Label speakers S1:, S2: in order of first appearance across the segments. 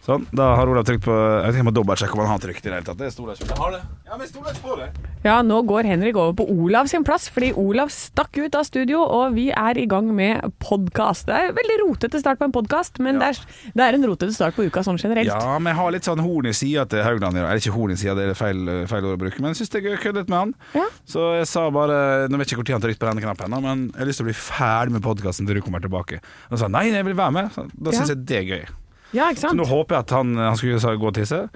S1: Sånn, da har Olav trykt på Jeg vet ikke om jeg må dobbeltsjekke om han har trykt i det hele tatt. Det er stoler ikke.
S2: Ja, nå går Henrik over på Olav sin plass, fordi Olav stakk ut av studio, og vi er i gang med podkast. Det er en veldig rotete start på en podkast, men det, er, det er en rotete start på uka sånn generelt.
S1: Ja, men jeg har litt sånn horn i sida til Haugland i dag. Eller ikke horn i sida, det er feil, feil ord å bruke, men jeg syns det er gøy å kødde litt med han.
S2: Ja.
S1: Så jeg sa bare Nå vet jeg ikke når han trykt på denne knappen, ennå, men jeg har lyst til å bli ferdig med podkasten til du kommer tilbake. Og han sa nei, jeg vil være med. Så Da syns
S2: Ja.
S1: jeg det er gøy.
S2: Ja, ikke
S1: Så
S2: sant?
S1: nå håper jeg at han, han skulle sa- gå og tisse.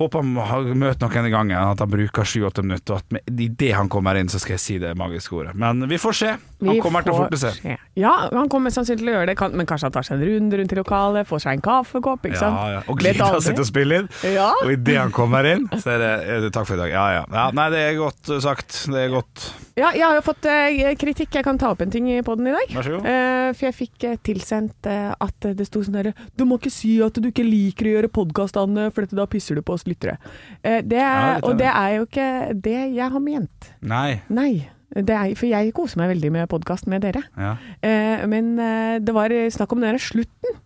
S1: Håper han har- møter noen i gangen, at han bruker sju-åtte minutter, og at med- i det han kommer inn, så skal jeg si det magiske ordet. Men vi får se. Han
S2: Vi
S1: kommer til å
S2: får
S1: forte seg.
S2: se. Ja, han kommer sannsynlig til å gjøre det, kan, men kanskje han tar seg en runde rundt i lokalet, får seg en kaffekopp, ikke sant?
S1: Ja, ja. Og
S2: Vet
S1: gleder
S2: aldri.
S1: seg til å spille inn.
S2: Ja.
S1: Og idet han kommer inn, så er det, er det takk for i dag. Ja, ja. ja nei, det er godt uh, sagt. Det er godt.
S2: Ja, jeg har jo fått eh, kritikk. Jeg kan ta opp en ting i poden i dag.
S1: Vær så god.
S2: Eh, for jeg fikk eh, tilsendt eh, at det sto sånn herre Du må ikke si at du ikke liker å gjøre podkast, Anne, for dette, da pisser du på oss lyttere. Eh, det,
S1: Ja, litt av
S2: og
S1: det.
S2: det er jo ikke det jeg har ment.
S1: Nei.
S2: Nei. Det er, for jeg koser meg veldig med podkast med dere.
S1: Ja.
S2: Eh, men eh, det var eh, snakk om den derre slutten.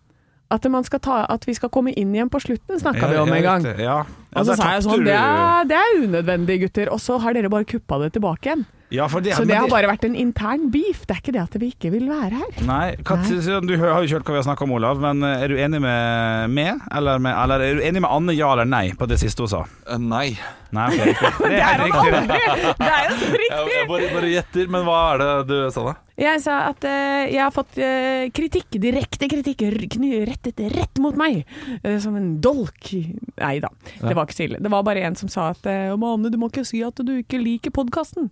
S2: At, man skal ta, at vi skal komme inn igjen på slutten, snakka vi om en gang.
S1: riktig. Ja. Ja,
S2: Og så
S1: der
S2: sa jeg
S1: tapte
S2: sånn
S1: du.
S2: det er, det er unødvendig, gutter. Og så har dere bare kuppa det tilbake igjen.
S1: Ja, for det,
S2: Så
S1: men
S2: det har bare vært en intern beef. Det er ikke det at vi ikke vil være her.
S1: Nei, hva, Du hø- har jo ikke hørt hva vi har snakka om, Olav, men uh, er du enig med meg? Eller, med, eller er du enig med Anne, ja eller nei, på det siste hun sa?
S3: Eh, Nei.
S1: Nei, ok, riktig. Det er helt riktig. det.
S2: Det er jo så
S3: Jeg,
S2: riktig!
S3: jeg bare, bare gjetter, men hva er det du sa da?
S2: Jeg sa at eh, jeg har fått eh, kritikk, direkte kritikk, r- kny- rettet rett mot meg. eh, som en dolk. Nei da, det var ikke så ille. Det var bare en som sa at eh, «Å, Anne, du må ikke si at du ikke liker podkasten.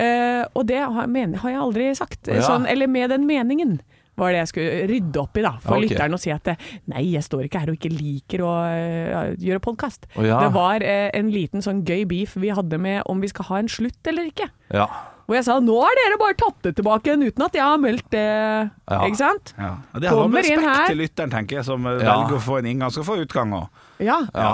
S2: og det har, men, har jeg aldri sagt. eh,
S3: Å, ja.
S2: Sånn, eller med den meningen. Var det jeg skulle rydde opp i, da. For
S3: Ja, ok.
S2: lytteren å si at eh, nei, jeg står ikke her og ikke liker å eh, gjøre podkast.
S3: Å, ja.
S2: Det var eh, en liten sånn gøy beef vi hadde med om vi skal ha en slutt eller ikke.
S3: Ja.
S2: Hvor jeg sa nå har dere bare tatt det tilbake igjen uten at jeg har meldt det.
S3: Ja.
S2: Ikke sant?
S1: Ja. Og Det handler om
S2: Kommer inn
S1: respekt
S2: her.
S1: til lytteren, tenker jeg, som uh,
S3: Ja.
S1: velger å få en inngang, skal få utgang òg.
S2: Ja.
S3: ja.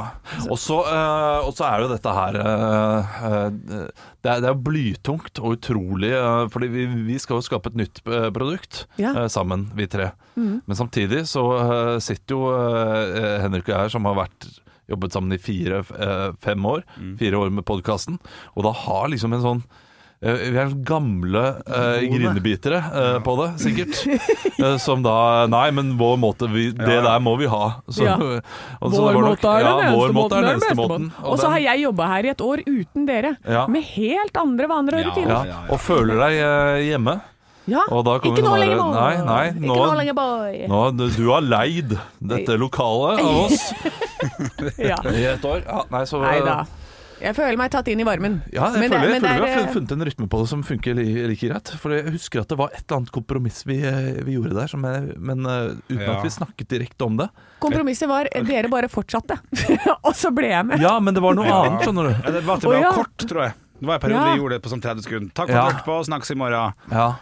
S3: Og så eh, og så er jo dette her eh, eh, Det er, det er blytungt og utrolig, eh, fordi vi, vi skal jo skape et nytt eh, produkt
S2: Ja. Mm.
S3: eh, sammen, vi tre. Men samtidig så eh, sitter jo eh, Henrik og jeg, som har vært jobbet sammen i fire, eh, fem år,
S1: Mm.
S3: fire år med podkasten, og da har liksom en sånn eh, vi er gamle eh, grinebitere eh, på det, sikkert. Eh, som da Nei, men vår måte vi, Det
S1: Ja.
S3: der må vi ha. Så,
S2: Ja.
S3: og så
S2: Vår
S3: var Altså, det nok-
S2: måte er den
S3: ja, vår
S2: eneste
S3: måte er
S2: måten.
S3: den
S2: er den
S3: eneste
S2: beste
S3: måten.
S2: måten. Og så
S3: den-
S2: har jeg jobba her i et år uten dere,
S3: Ja.
S2: med helt andre vaner og
S1: Ja.
S2: rutiner.
S3: ja, og føler deg eh, hjemme.
S2: Ja.
S3: Og da kommer
S2: Ikke nå
S3: sånn
S2: lenger,
S3: der,
S2: boy!
S3: nei, nei, nå-
S2: Ikke nå lenger, boy!
S3: Nå, du, du har leid dette lokalet av oss
S2: Ja.
S3: i et år. Ja, nei, så,
S2: Nei da. Jeg føler meg tatt inn i varmen.
S3: Ja, jeg
S2: Men det-
S3: føler, jeg
S2: men det
S3: føler vi
S2: er,
S3: har fun- funnet en rytme på det som funker li, like greit. For jeg husker at det var et eller annet kompromiss vi, eh, vi gjorde der, som jeg, men eh, uten
S1: Ja.
S3: at vi snakket direkte om det.
S2: Kompromisset var dere bare fortsatte, og så ble jeg med.
S3: Ja, men det var noe
S1: Ja.
S3: annet, skjønner du.
S1: Ja, det var til og
S2: Å,
S1: med
S2: ja.
S1: kort, tror jeg. Det var en periode
S2: Ja.
S1: vi gjorde det på sånn 30 sekunder. Takk for
S3: Ja.
S1: at du hørte på, snakkes i morgen.
S3: Ja,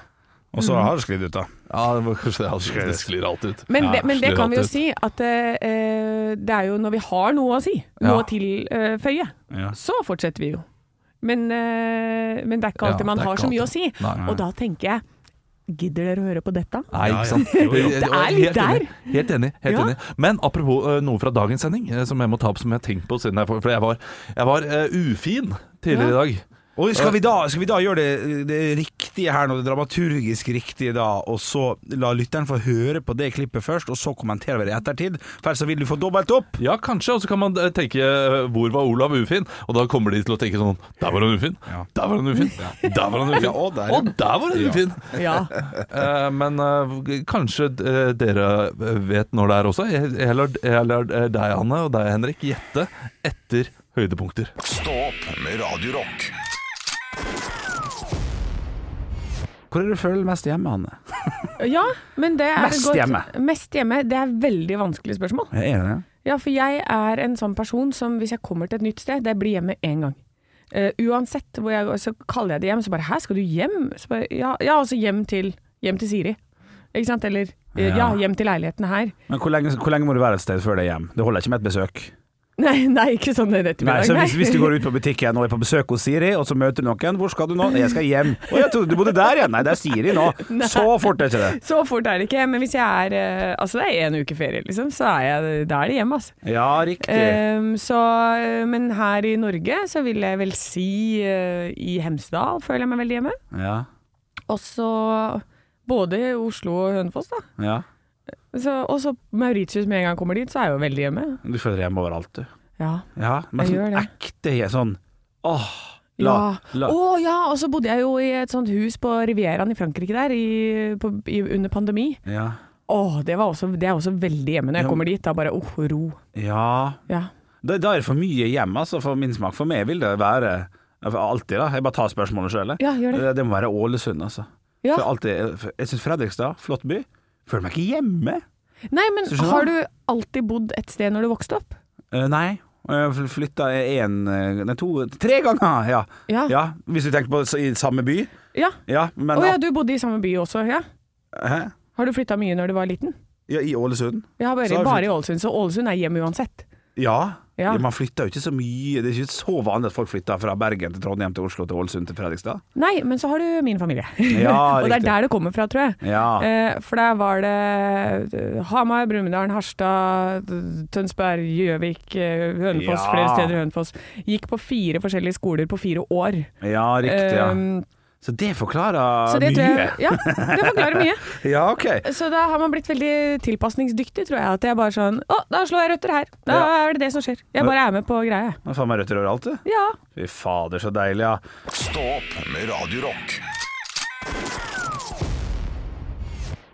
S1: Og så har det sklidd ut, da.
S3: ja det var kanskje det. altså, Det sklir alltid ut.
S2: Men,
S3: Ja,
S2: det, men det
S3: sklir
S2: kan vi jo
S3: alltid ut.
S2: si at eh, eh, det er jo når vi har noe å si, noe
S3: Ja.
S2: å tilføye,
S1: Ja.
S2: så fortsetter vi jo. Men, eh, men det er ikke
S3: Ja,
S2: alltid man
S3: det er
S2: har
S3: ikke
S2: så mye å si.
S3: alltid. Nei.
S2: Og da tenker jeg Gidder dere å høre på dette?
S1: Ja,
S3: Nei,
S1: ja.
S3: ikke sant?
S1: Jo, jo.
S2: Det er litt
S3: helt Enig. Helt enig. helt
S2: Ja.
S3: enig Men apropos eh, noe fra dagens sending eh, som jeg må ta opp som jeg har tenkt på siden jeg For jeg var, jeg var eh, ufin tidligere i dag.
S1: Og skal vi, da, skal vi da gjøre det, det riktige her nå, det dramaturgisk riktige da, og så la lytteren få høre på det klippet først, og så kommenterer vi det i ettertid? For ellers så vil du få dobbelt opp.
S3: Ja, kanskje. Og så kan man eh, tenke eh, 'Hvor var Olav ufin?' Og da kommer de til å tenke sånn 'Der var han ufin'.
S1: Ja.
S3: 'Der var han ufin'. 'Der var han ufin'.
S1: og der, ja.
S3: og der var han ufin!
S2: Ja.
S3: Eh, men eh, kanskje eh, dere vet når det er også. Jeg, jeg lar, jeg lar eh, deg, Anne, og deg, Henrik, gjette etter høydepunkter.
S4: Stå opp med Radio Rock.
S1: Hvor er det du føler mest hjemme, Anne?
S2: ja, men det er
S1: Mest
S2: godt-
S1: hjemme.
S2: Mest hjemme. Det er veldig vanskelig spørsmål.
S1: Jeg er det.
S2: Ja, for jeg er en sånn person som hvis jeg kommer til et nytt sted, det blir hjemme én gang. Eh, uansett hvor jeg går, så kaller jeg det hjem. Så bare 'hæ, skal du hjem?' Så bare, ja, ja, altså hjem til, hjem til Siri. Ikke sant? Eller eh, ja.
S1: Ja.
S2: hjem til leiligheten her.
S1: Men hvor lenge, hvor lenge må du være et sted før det er hjem? Det holder ikke med et besøk.
S2: Nei, nei, ikke sånn rett i
S1: Nei, så
S2: middag,
S1: hvis,
S2: nei.
S1: hvis du går ut på butikken og er på besøk hos Siri, og så møter du noen 'Hvor skal du nå?' 'Nei, 'Jeg skal hjem'. 'Å, jeg trodde du bodde der igjen'. Nei, det er Siri nå. Så fort er ikke det.
S2: Så fort er det ikke, men hvis jeg er eh, Altså, det er en uke ferie, liksom, så er jeg Da er det hjem, altså.
S1: Ja, riktig.
S2: Ehm, så, eh, men her i Norge så vil jeg vel si eh, i Hemsedal føler jeg meg veldig hjemme.
S1: Ja.
S2: Og så både i Oslo og Hønefoss, da.
S1: ja.
S2: Så, og så Mauritius med en gang jeg kommer dit, så er jeg jo veldig hjemme.
S1: Du føler hjemme overalt, du.
S2: Ja.
S1: Ja, men sånn
S2: Jeg gjør det.
S1: ekte he- sånn Åh, la,
S2: ja.
S1: la.
S2: Å ja, og så bodde jeg jo i et sånt hus på Rivieraen i Frankrike der i, på, i, under pandemi.
S1: Ja.
S2: Å, det, var også, det er også veldig hjemme når jeg
S1: Ja.
S2: kommer dit. Da bare åh, ro.
S1: ja.
S2: Ja.
S1: Da, da er det for mye hjem, altså, for min smak. For meg vil det være Alltid, da. Jeg bare tar spørsmålet sjøl.
S2: Ja, gjør det.
S1: Det, det må være Ålesund, altså.
S2: Ja.
S1: For alltid, for jeg syns Fredrikstad, flott by. Føler meg ikke hjemme.
S2: Nei, men
S1: Så skjønner
S2: har
S1: du.
S2: du alltid bodd et sted når du vokste opp?
S1: Eh, nei. Uh, Flytta én eh, Nei, to Tre ganger, ja.
S2: Ja.
S1: ja. Hvis du tenker på s- i samme by.
S2: Ja.
S1: Ja, men
S2: Å ja, du bodde i samme by også, ja.
S1: Hæ?
S2: Har du flytta mye når du var liten?
S1: Ja, I Ålesund?
S2: Jeg
S1: Så
S2: har bare,
S1: har vi
S2: bare i Ålesund, så Ålesund er hjem uansett.
S1: Ja.
S2: Ja.
S1: ja. Man flytter jo ikke så mye. Det er ikke så vanlig at folk flytter fra Bergen til Trondheim til Oslo til Ålesund til Fredrikstad.
S2: Nei, men så har du min familie.
S1: Ja,
S2: og det er
S1: riktig.
S2: der det kommer fra, tror jeg.
S1: Ja.
S2: Eh, for der var det eh, Hamar, Brumunddal, Harstad, Tønsberg, Gjøvik, eh, Hønefoss,
S1: Ja.
S2: flere steder i Hønefoss. Gikk på fire forskjellige skoler på fire år.
S1: ja, riktig. Ja.
S2: Eh,
S1: Så det forklarer
S2: så det tror
S1: mye.
S2: jeg, ja, det forklarer mye.
S1: Ja, ok.
S2: Så da har man blitt veldig tilpasningsdyktig, tror jeg. At jeg bare sånn Å, da slår jeg røtter her. Da er det det som skjer. Jeg bare er med på greia.
S1: Nå faen meg røtter overalt, du.
S2: Ja.
S1: Fy fader, så deilig, ja.
S4: Stå opp med Radio Rock.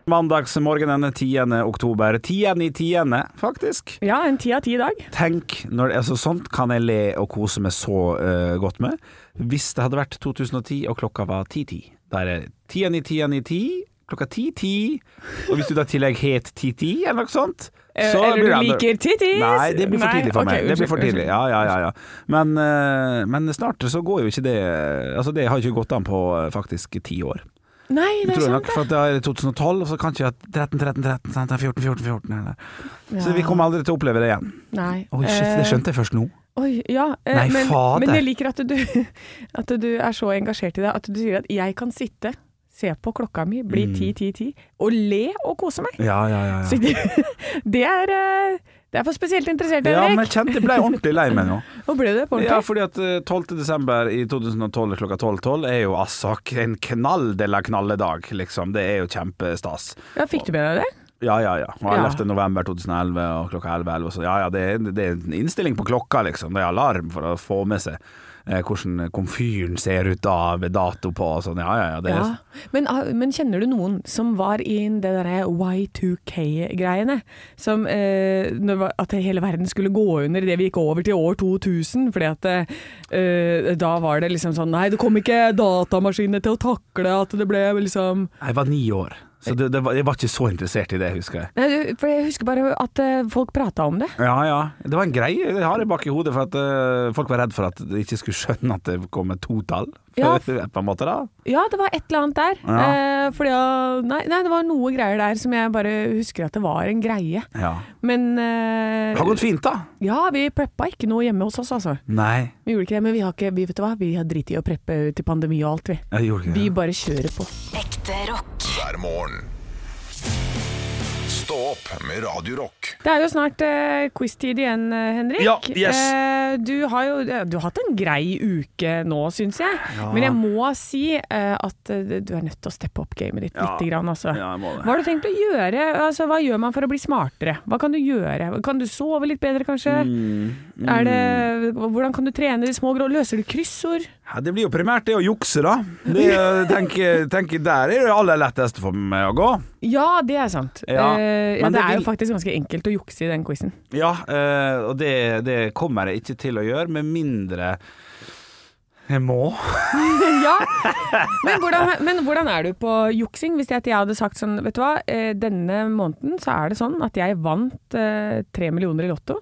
S1: Mandagsmorgenen 10. oktober. 10. i 10., faktisk.
S2: ja, en ti av ti i dag.
S1: Tenk, når det er så sånt kan jeg le og kose meg så eh, godt med. Hvis det hadde vært 2010 og klokka var 10.10. Da er det 10 i 10 i 10, klokka 10.10. Og hvis du da i tillegg het 10.10 eller noe sånt,
S2: Eh,
S1: så blir
S2: eller
S1: det
S2: du
S1: andre-
S2: liker tittis!
S1: Nei, det blir for
S2: Nei,
S1: tidlig for
S2: ok,
S1: meg. Det blir for
S2: unnskyld,
S1: tidlig. Ja, ja, ja, ja. Men, eh, men snart så går jo ikke det Altså, det har ikke gått an på eh, faktisk ti år.
S2: Nei, det er
S1: Tror jeg
S2: sant,
S1: nok, for at det er 2012, og så kan ikke jeg ha 13, 13, 13, sant? Det er 14, 14, 14 eller.
S2: det.
S1: Så vi kommer aldri til å oppleve det igjen.
S2: Nei.
S1: Oi, shit, det skjønte jeg først nå.
S2: Eh, Oi, ja. eh,
S1: Nei,
S2: men,
S1: fader.
S2: men jeg liker at du, at du er så engasjert i det at du sier at jeg kan sitte, se på klokka mi, bli ti, ti, ti, og le og kose meg.
S1: Mm. Ja, ja, ja.
S2: Så det, det er eh, Det er for spesielt interessert,
S1: Ja, men
S2: Erik.
S1: jeg kjente jeg ble ordentlig lei meg nå.
S2: Og ble du det på
S1: Ja,
S2: ordentlig?
S1: fordi at eh, 12. desember i 2012 klokka 12.12 er jo altså k- en knall de la knalledag, liksom. Det er jo kjempestas.
S2: Ja, fikk du med deg det?
S1: Ja, ja, ja. Og
S2: Ja.
S1: 11. november 2011 og klokka 11, 11 og så, ja, ja, det er, det er en innstilling på klokka, liksom. Det er alarm for å få med seg eh, hvordan komfyren ser ut da, med dato på og sånn. Ja, ja, ja. Det er,
S2: Ja. Men, ah, men kjenner du noen som var i det derre Y2K-greiene? Som eh, når, det var- At hele verden skulle gå under idet vi gikk over til år 2000. Fordi at eh, da var det liksom sånn Nei, det kom ikke datamaskinene til å takle at det ble liksom
S1: Jeg var ni år, så det, det var, jeg var ikke så interessert i det, husker jeg.
S2: Nei, du, for jeg husker bare at eh, folk prata om det.
S1: Ja, ja. Det var en greie. Det har jeg bak i hodet, for at eh, folk var redd for at de ikke skulle skjønne at det kom et totall.
S2: Ja.
S1: på en måte, da.
S2: Ja, det var et eller annet der.
S1: Ja.
S2: Eh, fordi ah, nei, nei, det var noe greier der som jeg bare husker at det var en greie.
S1: Ja.
S2: Men eh,
S1: Det har gått fint, da.
S2: Ja, vi preppa ikke noe hjemme hos oss, altså.
S1: Nei,
S2: Vi gjorde ikke det, men vi har ikke Vi vet du hva, vi har driti i å preppe til pandemi og alt, vi.
S1: jeg gjorde ikke det.
S2: Vi bare kjører på.
S5: Ekte rock.
S4: hver morgen. Stå opp med Radio Rock.
S2: Det er jo snart eh, quiz-tid igjen, eh, Henrik.
S1: Ja, yes.
S2: Eh, du har jo eh, du har hatt en grei uke nå, syns jeg. Men jeg må si eh, at eh, du er nødt til å steppe opp gamet ditt
S1: Ja.
S2: lite grann, altså.
S1: Ja, jeg må det.
S2: Hva har du tenkt å gjøre? Altså, hva gjør man for å bli smartere? Hva kan du gjøre? Kan du sove litt bedre, kanskje?
S1: Mm,
S2: Er det, hvordan kan du trene de små grå? Løser du kryssord?
S1: Ja, det blir jo primært det å jukse, da. Det, eh, tenk, tenk, der er det aller letteste for meg å gå.
S2: Ja, det er sant.
S1: Ja,
S2: Eh, ja,
S1: men
S2: det,
S1: det
S2: er jo
S1: vil-
S2: faktisk ganske enkelt å jukse i den quizen.
S1: Ja, eh, og det, det kommer jeg ikke til å gjøre, med mindre jeg må.
S2: ja. men, hvordan, men hvordan er du på juksing? Hvis jeg, at jeg hadde sagt sånn, vet du hva, eh, denne måneden så er det sånn at jeg vant eh, 3 millioner i lotto.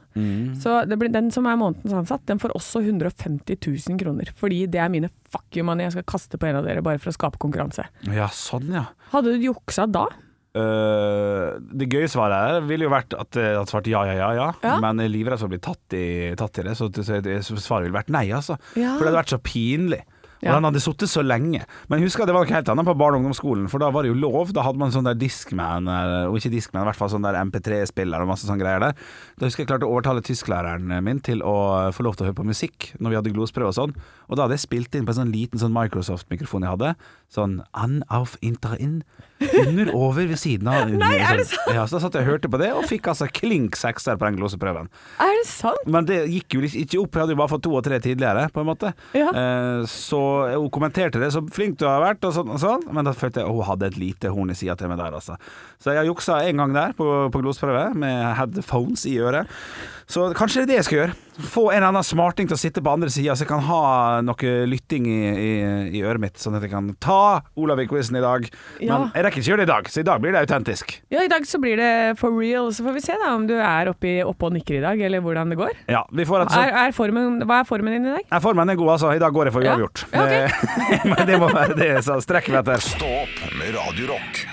S2: Så det blir, den som er månedens ansatt, den får også 150 000 kroner. Fordi det er mine fuck you money jeg skal kaste på en av dere bare for å skape konkurranse.
S1: Ja, sånn, ja.
S2: Hadde du juksa da?
S1: Øh, det gøye svaret her ville jo vært at jeg hadde svart ja, ja, ja, ja.
S2: Ja.
S1: Men jeg er livredd for å bli tatt i, tatt i det, så det- så det- så svaret ville vært nei, altså.
S2: Ja.
S1: For det hadde vært så pinlig. Og
S2: Ja.
S1: han hadde sittet så lenge. Men jeg husker at det var noe helt annet på barne- og ungdomsskolen, for da var det jo lov. Da hadde man sånn der Discman, eh, og ikke Discman, i hvert fall sånn der MP3-spiller og masse sånne greier der. Da husker jeg klarte å overtale tysklæreren eh, min til å få lov til å høre på musikk når vi hadde glosprøve og sånn. Og da hadde jeg spilt inn på en sånn liten sånn Microsoft-mikrofon jeg hadde. Sånn an, auf, inter, in. Under, over, ved siden av. Under,
S2: Nei, er det
S1: sånn. Ja, så da satt jeg og hørte på det, og fikk altså klink sekser på den gloseprøven.
S2: Er det sant?
S1: Men det gikk jo liksom ikke opp, jeg hadde jo bare fått to og tre tidligere, på en måte.
S2: Ja.
S1: Eh, så hun kommenterte det, så flink du har vært, og sånn og sånn. Men da følte jeg hun hadde et lite horn i sida til meg der, altså. Så jeg juksa en gang der, på, på glosprøve, med headphones i øret. Så kanskje det er det jeg skal gjøre. Få en eller annen smarting til å sitte på andre sida, så jeg kan ha noe lytting i, i, i øret mitt, sånn at jeg kan ta Olav-quizen i dag.
S2: Ja.
S1: Men jeg rekker ikke gjøre det i dag, så i dag blir det autentisk.
S2: Ja, i dag så blir det for real, så får vi se da om du er oppe, i- oppe og nikker i dag, eller hvordan det går.
S1: Ja, vi får et sånt
S2: Er, er formen, hva er formen din i dag?
S1: Nei, Formen er god, altså. I dag går jeg for
S2: Ja.
S1: uavgjort.
S2: Ja, ok.
S1: Eh, Men det må være det, så strekker vi etter.
S4: Stå opp med Radio Rock.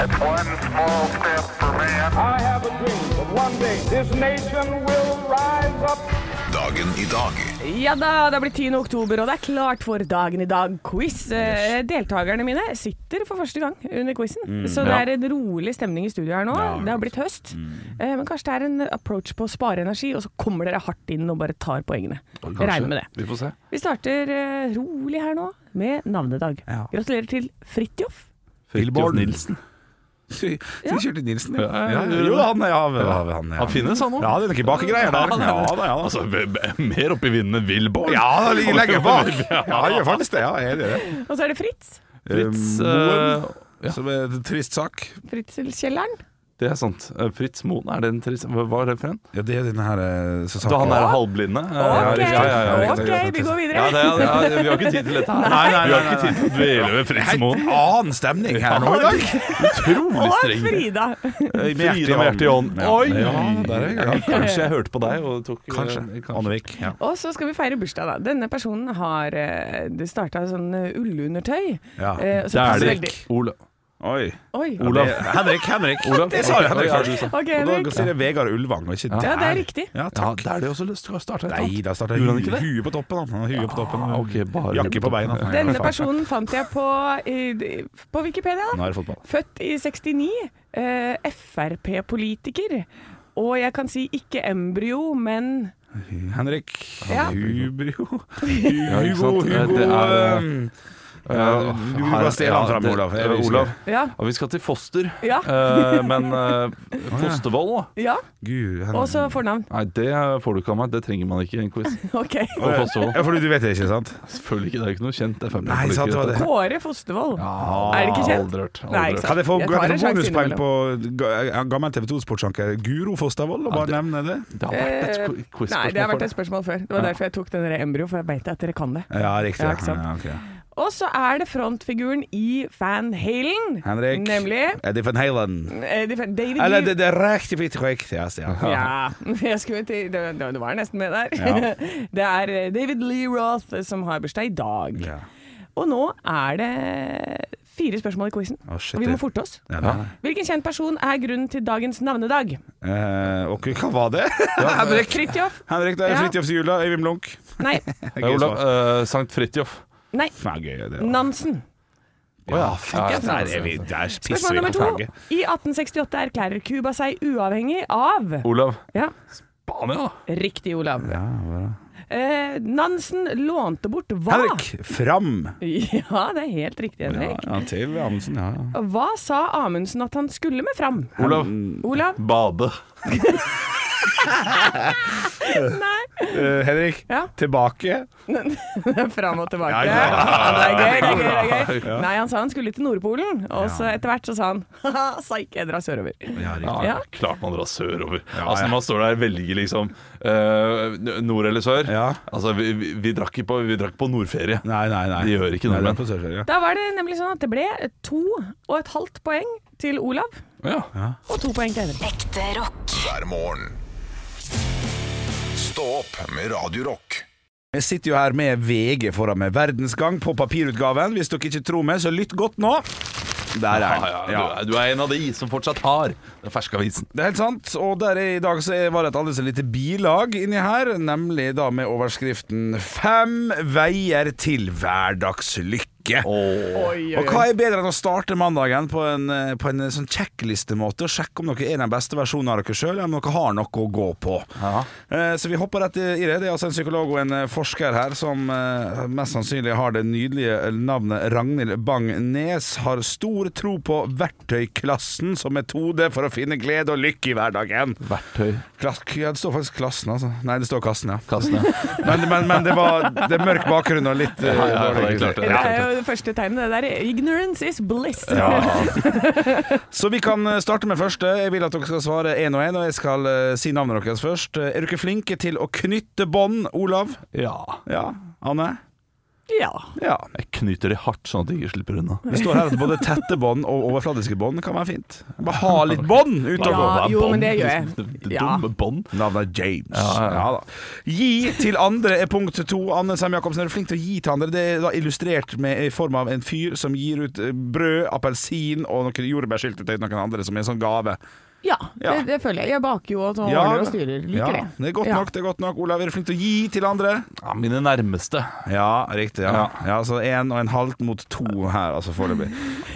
S5: One small step for man.
S6: I have a dream that one day this nation will rise up.
S4: Dagen i dag.
S2: Ja da, det blir 10. oktober, og det er klart for Dagen i dag-quiz. Eh, deltakerne mine sitter for første gang under quizen, så det
S3: Ja.
S2: er en rolig stemning i studio her nå.
S1: Ja,
S2: det har blitt høst. Eh, men kanskje det er en approach på å spare energi, og så kommer dere hardt inn og bare tar poengene. Jeg regner med det.
S3: Vi får se.
S2: Vi starter eh, rolig her nå med navnedag.
S1: Ja.
S2: Gratulerer til Fridtjof.
S1: Borden.
S3: Fridtjof Nilsen.
S1: Så kjørte Nilsen, ja.
S3: Ja,
S1: ja.
S3: ja, ja.
S1: Jo da, han er av. Han,
S3: Han finnes, han òg.
S1: Ja, det er noen bakegreier der. Ja
S3: Ja, han er-
S1: da, ja da.
S3: Altså, b- b- mer oppi vinden enn Wilborg.
S1: Ja, han ligger lenger bak. Ja, han gjør faktisk det. Ja, jeg er enig i det.
S2: Og så er det Fritz.
S3: Fritz
S1: Eh,
S3: eh,
S1: Moen, Som er en trist sak.
S2: Fritzelkjelleren.
S3: Det er sant. Eh, Fritz Moen, er det en trist Hva hva er det for en?
S1: Ja, det er den her eh, som
S3: Da
S1: sa-
S3: han er halvblinde? Eh,
S2: Ok,
S3: ja, ja, ja, ja,
S2: ok, vi går videre.
S3: Ja, det, er- ja, vi har ikke tid til dette her.
S1: Nei, nei,
S3: vi har
S1: nei, nei,
S3: ikke tid til å dvele ved Fritz Moen.
S1: Helt annen stemning her nå i dag.
S3: Utrolig
S2: og
S3: streng.
S2: Frida.
S3: Frida med hjertet i hånden.
S1: Ja.
S3: Oi!
S1: Ja, der er jeg. Ja,
S3: Kanskje jeg hørte på deg og tok
S1: Kanskje.
S3: eh,
S1: Annevik. Ja.
S2: Og så skal vi feire bursdag, da. Denne personen har eh, Det starta sånn eh, ullundertøy.
S1: Ja.
S2: Eh, så
S3: Det er
S2: passer
S3: det
S2: veldig.
S3: Ola.
S1: Oi.
S2: Oi.
S3: Olav.
S1: Ja, det er- Henrik, Henrik.
S3: Olav.
S1: Det sa jo Henrik
S3: Ja,
S1: først.
S3: du sa.
S2: Ok,
S1: Og da
S2: Henrik.
S1: sier jeg Vegard Ulvang, og ikke
S2: Ja, det er
S1: der.
S2: riktig.
S1: Ja,
S3: Ja,
S1: takk.
S3: det er det også lyst til å starte.
S1: Nei, da starta
S3: Gjorde han
S1: hu
S3: ikke det?
S1: huet på toppen. Han. Han har Huet på toppen.
S3: Ah, ok, bare
S1: Jakke
S3: huet
S1: på
S3: på
S1: beina. Ja,
S3: toppen.
S2: Denne
S1: faen.
S2: personen fant jeg på, eh, på Wikipedia.
S1: Nå er
S2: da.
S1: det fotball.
S2: Født i 69. eh, Frp-politiker. Og jeg kan si ikke embryo, men
S1: Henrik
S2: Ja.
S1: Hubrio
S3: Ja, ikke
S1: Hugo,
S3: sant? Eh,
S1: Hugo
S3: det er, eh,
S1: ehm,
S3: Ja,
S1: Du vil bare stjele han fram,
S3: det-
S1: Olav. Jeg
S3: eh,
S1: vil ikke.
S3: Olav.
S2: Ja.
S3: Ja, vi skal til Foster.
S2: Ja.
S3: Eh, men eh, Fostervoll, da?
S2: ja.
S1: Gud,
S2: Og
S1: Henrik
S2: så fornavn.
S3: Nei, det får du ikke av meg. Det trenger man ikke i en quiz.
S2: OK.
S3: Og Fostervoll.
S1: Ja, for du vet det ikke, sant?
S3: Selvfølgelig ikke. Det er jo ikke noe kjent FMP.
S1: Nei, sant, det var det.
S2: Kåre Fostervoll.
S3: Ja,
S2: Er det ikke kjent?
S3: Aldri hørt. Aldri
S2: Nei,
S3: hørt.
S2: ikke sant.
S1: Kan jeg få
S2: Jeg
S1: kan
S2: tar
S1: jeg få
S2: en sjanse
S1: bonuspoeng
S2: innimellom.
S1: på ga- en gammel TV 2-sportsjanker Guro Fostervoll, og bare
S3: Ja,
S1: nevne det?
S3: Det har vært et qu- quiz
S2: Eh, Nei, det har vært et spørsmål før. Det var derfor jeg tok den der embryo, for jeg veit at dere kan det.
S1: Ja, riktig.
S2: Ja, ikke sant.
S1: Ja, ok.
S2: Og så er det frontfiguren i Van Halen.
S1: Henrik.
S2: Nemlig
S1: Eddie van Halen.
S2: eh, de- David
S1: Eller
S2: Lee.
S1: det, det er riktig riktig riktig, ja, Stian.
S2: Ja, jeg skulle til det, det, det var nesten med der.
S1: Ja.
S2: Det er eh, David Lee Roth som har bursdag i dag.
S1: Ja.
S2: Og nå er det fire spørsmål i quizen,
S1: Å, shit,
S2: og vi må
S1: det-
S2: forte oss.
S1: Ja, nei, nei.
S2: Hvilken kjent person er grunnen til dagens navnedag?
S1: Eh, og hva var det? Henrik,
S2: Fridtjof?
S1: Henrik, det er
S2: Ja.
S1: Fridtjofs jula. Øyvind Blunk.
S2: Nei.
S3: Ja, Olav, eh, Sankt Fridtjof.
S2: Nei.
S1: Nei, gøy, det er-
S2: Nansen.
S3: Å ja,
S1: Ja,
S3: ja,
S1: der, er vi, der pisser
S2: Spørsmål
S1: vi på
S2: nummer to.
S1: flagget.
S2: I 1868 erklærer Cuba seg uavhengig av
S3: Olav.
S2: Ja,
S3: Spania, da.
S2: riktig, Olav. Eh, Nansen lånte bort hva?
S1: Henrik, fram!
S2: Ja, det er helt riktig,
S1: Ja,
S2: Henrik.
S1: ja, til Amundsen, ja. ja.
S2: Hva sa Amundsen at han skulle med fram?
S3: Olav.
S1: Mm.
S2: Olav?
S3: Bade.
S1: Eh, Henrik,
S2: Ja.
S1: tilbake.
S2: Fram og tilbake.
S1: Ja, ja, ja.
S2: Det er gøy, det er gøy. det er gøy. Nei, han sa han skulle til Nordpolen, og så etter hvert så sa han ha-ha, psyk, jeg drar sørover.
S3: Ja,
S2: Ja.
S3: Klart man drar sørover.
S1: ja.
S3: Altså Når man står der og velger liksom eh, nord eller sør
S1: Ja.
S3: Altså vi, vi, vi, drakk ikke på, vi drakk på nordferie.
S1: Nei, nei, nei.
S3: De gjør ikke
S1: Nei, det
S3: nordmenn.
S1: er på Sørfjell, ja.
S2: Da var det nemlig sånn at det ble to og et halvt poeng til Olav,
S3: Ja.
S2: og to poeng til Henrik.
S7: Ekte rock.
S4: hver morgen. Stå opp med Radio Rock.
S1: Jeg sitter jo her med VG foran meg. Verdensgang på papirutgaven. Hvis dere ikke tror meg, så lytt godt nå. Der er
S3: Ja,
S1: den.
S3: ja, du,
S1: Ja.
S3: er- du er en av de som fortsatt har den ferske avisen.
S1: Det er helt sant. Og der er i dag så er- var det et aldri så lite bilag inni her, nemlig da med overskriften 'Fem veier til hverdagslykke'. Og hva er bedre enn å starte mandagen på en, eh, på en eh, sånn checklistemåte og sjekke om dere er den beste versjonen av dere sjøl, om dere har noe å gå på. Eh, Så vi hopper rett i det. Det er altså en psykolog og en eh, forsker her som eh, mest sannsynlig har det nydelige eh, navnet Ragnhild Bang-Nes, har stor tro på verktøyklassen som metode for å finne glede og lykke i hverdagen.
S3: Verktøy.
S1: Klass, ja, det står faktisk klassen, altså. Nei, det står kassen, ja.
S3: Kassene.
S1: Men, men, men det var det er mørk bakgrunn og litt eh,
S3: Ja, ja,
S1: dårlig
S3: det er klart det.
S2: Det er jo det første tegnet. Det der ignorance is bliss.
S1: Så vi kan eh, starte med første. Jeg vil at dere skal svare én og én, og jeg skal eh, si navnet deres først. Eh, Er dere flinke til å knytte bånd, Olav?
S3: Ja.
S1: Ja. Anne?
S2: ja.
S1: Ja.
S3: Jeg knyter de hardt, sånn at de ikke slipper unna.
S1: Det står her at både tette bånd og overfladiske bånd kan være fint. Bare ha litt bånd
S2: Ja,
S1: utover.
S2: jo, men det gjør jeg. Ja.
S3: Dumme bånd.
S1: Navnet er James. Ja,
S3: Ja, ja.
S1: da. Gi til andre er punkt to. Anne Sem Jacobsen, er du flink til å gi til andre? Det er da illustrert med, i form av en fyr som gir ut eh, brød, appelsin og noen jordbærsyltetøy til noen andre, som er en sånn gave.
S2: Ja,
S1: Ja.
S2: Det, det føler jeg. Jeg baker jo og så
S1: Ja,
S2: ordner og styrer. Liker
S1: ja,
S2: det.
S1: Det er godt
S2: Ja.
S1: nok, det er godt nok. Olav, er du flink til å gi til andre?
S3: Ja, mine nærmeste.
S1: Ja, riktig. Ja.
S3: Ja.
S1: Ja, så én og en halvt mot to her, altså foreløpig.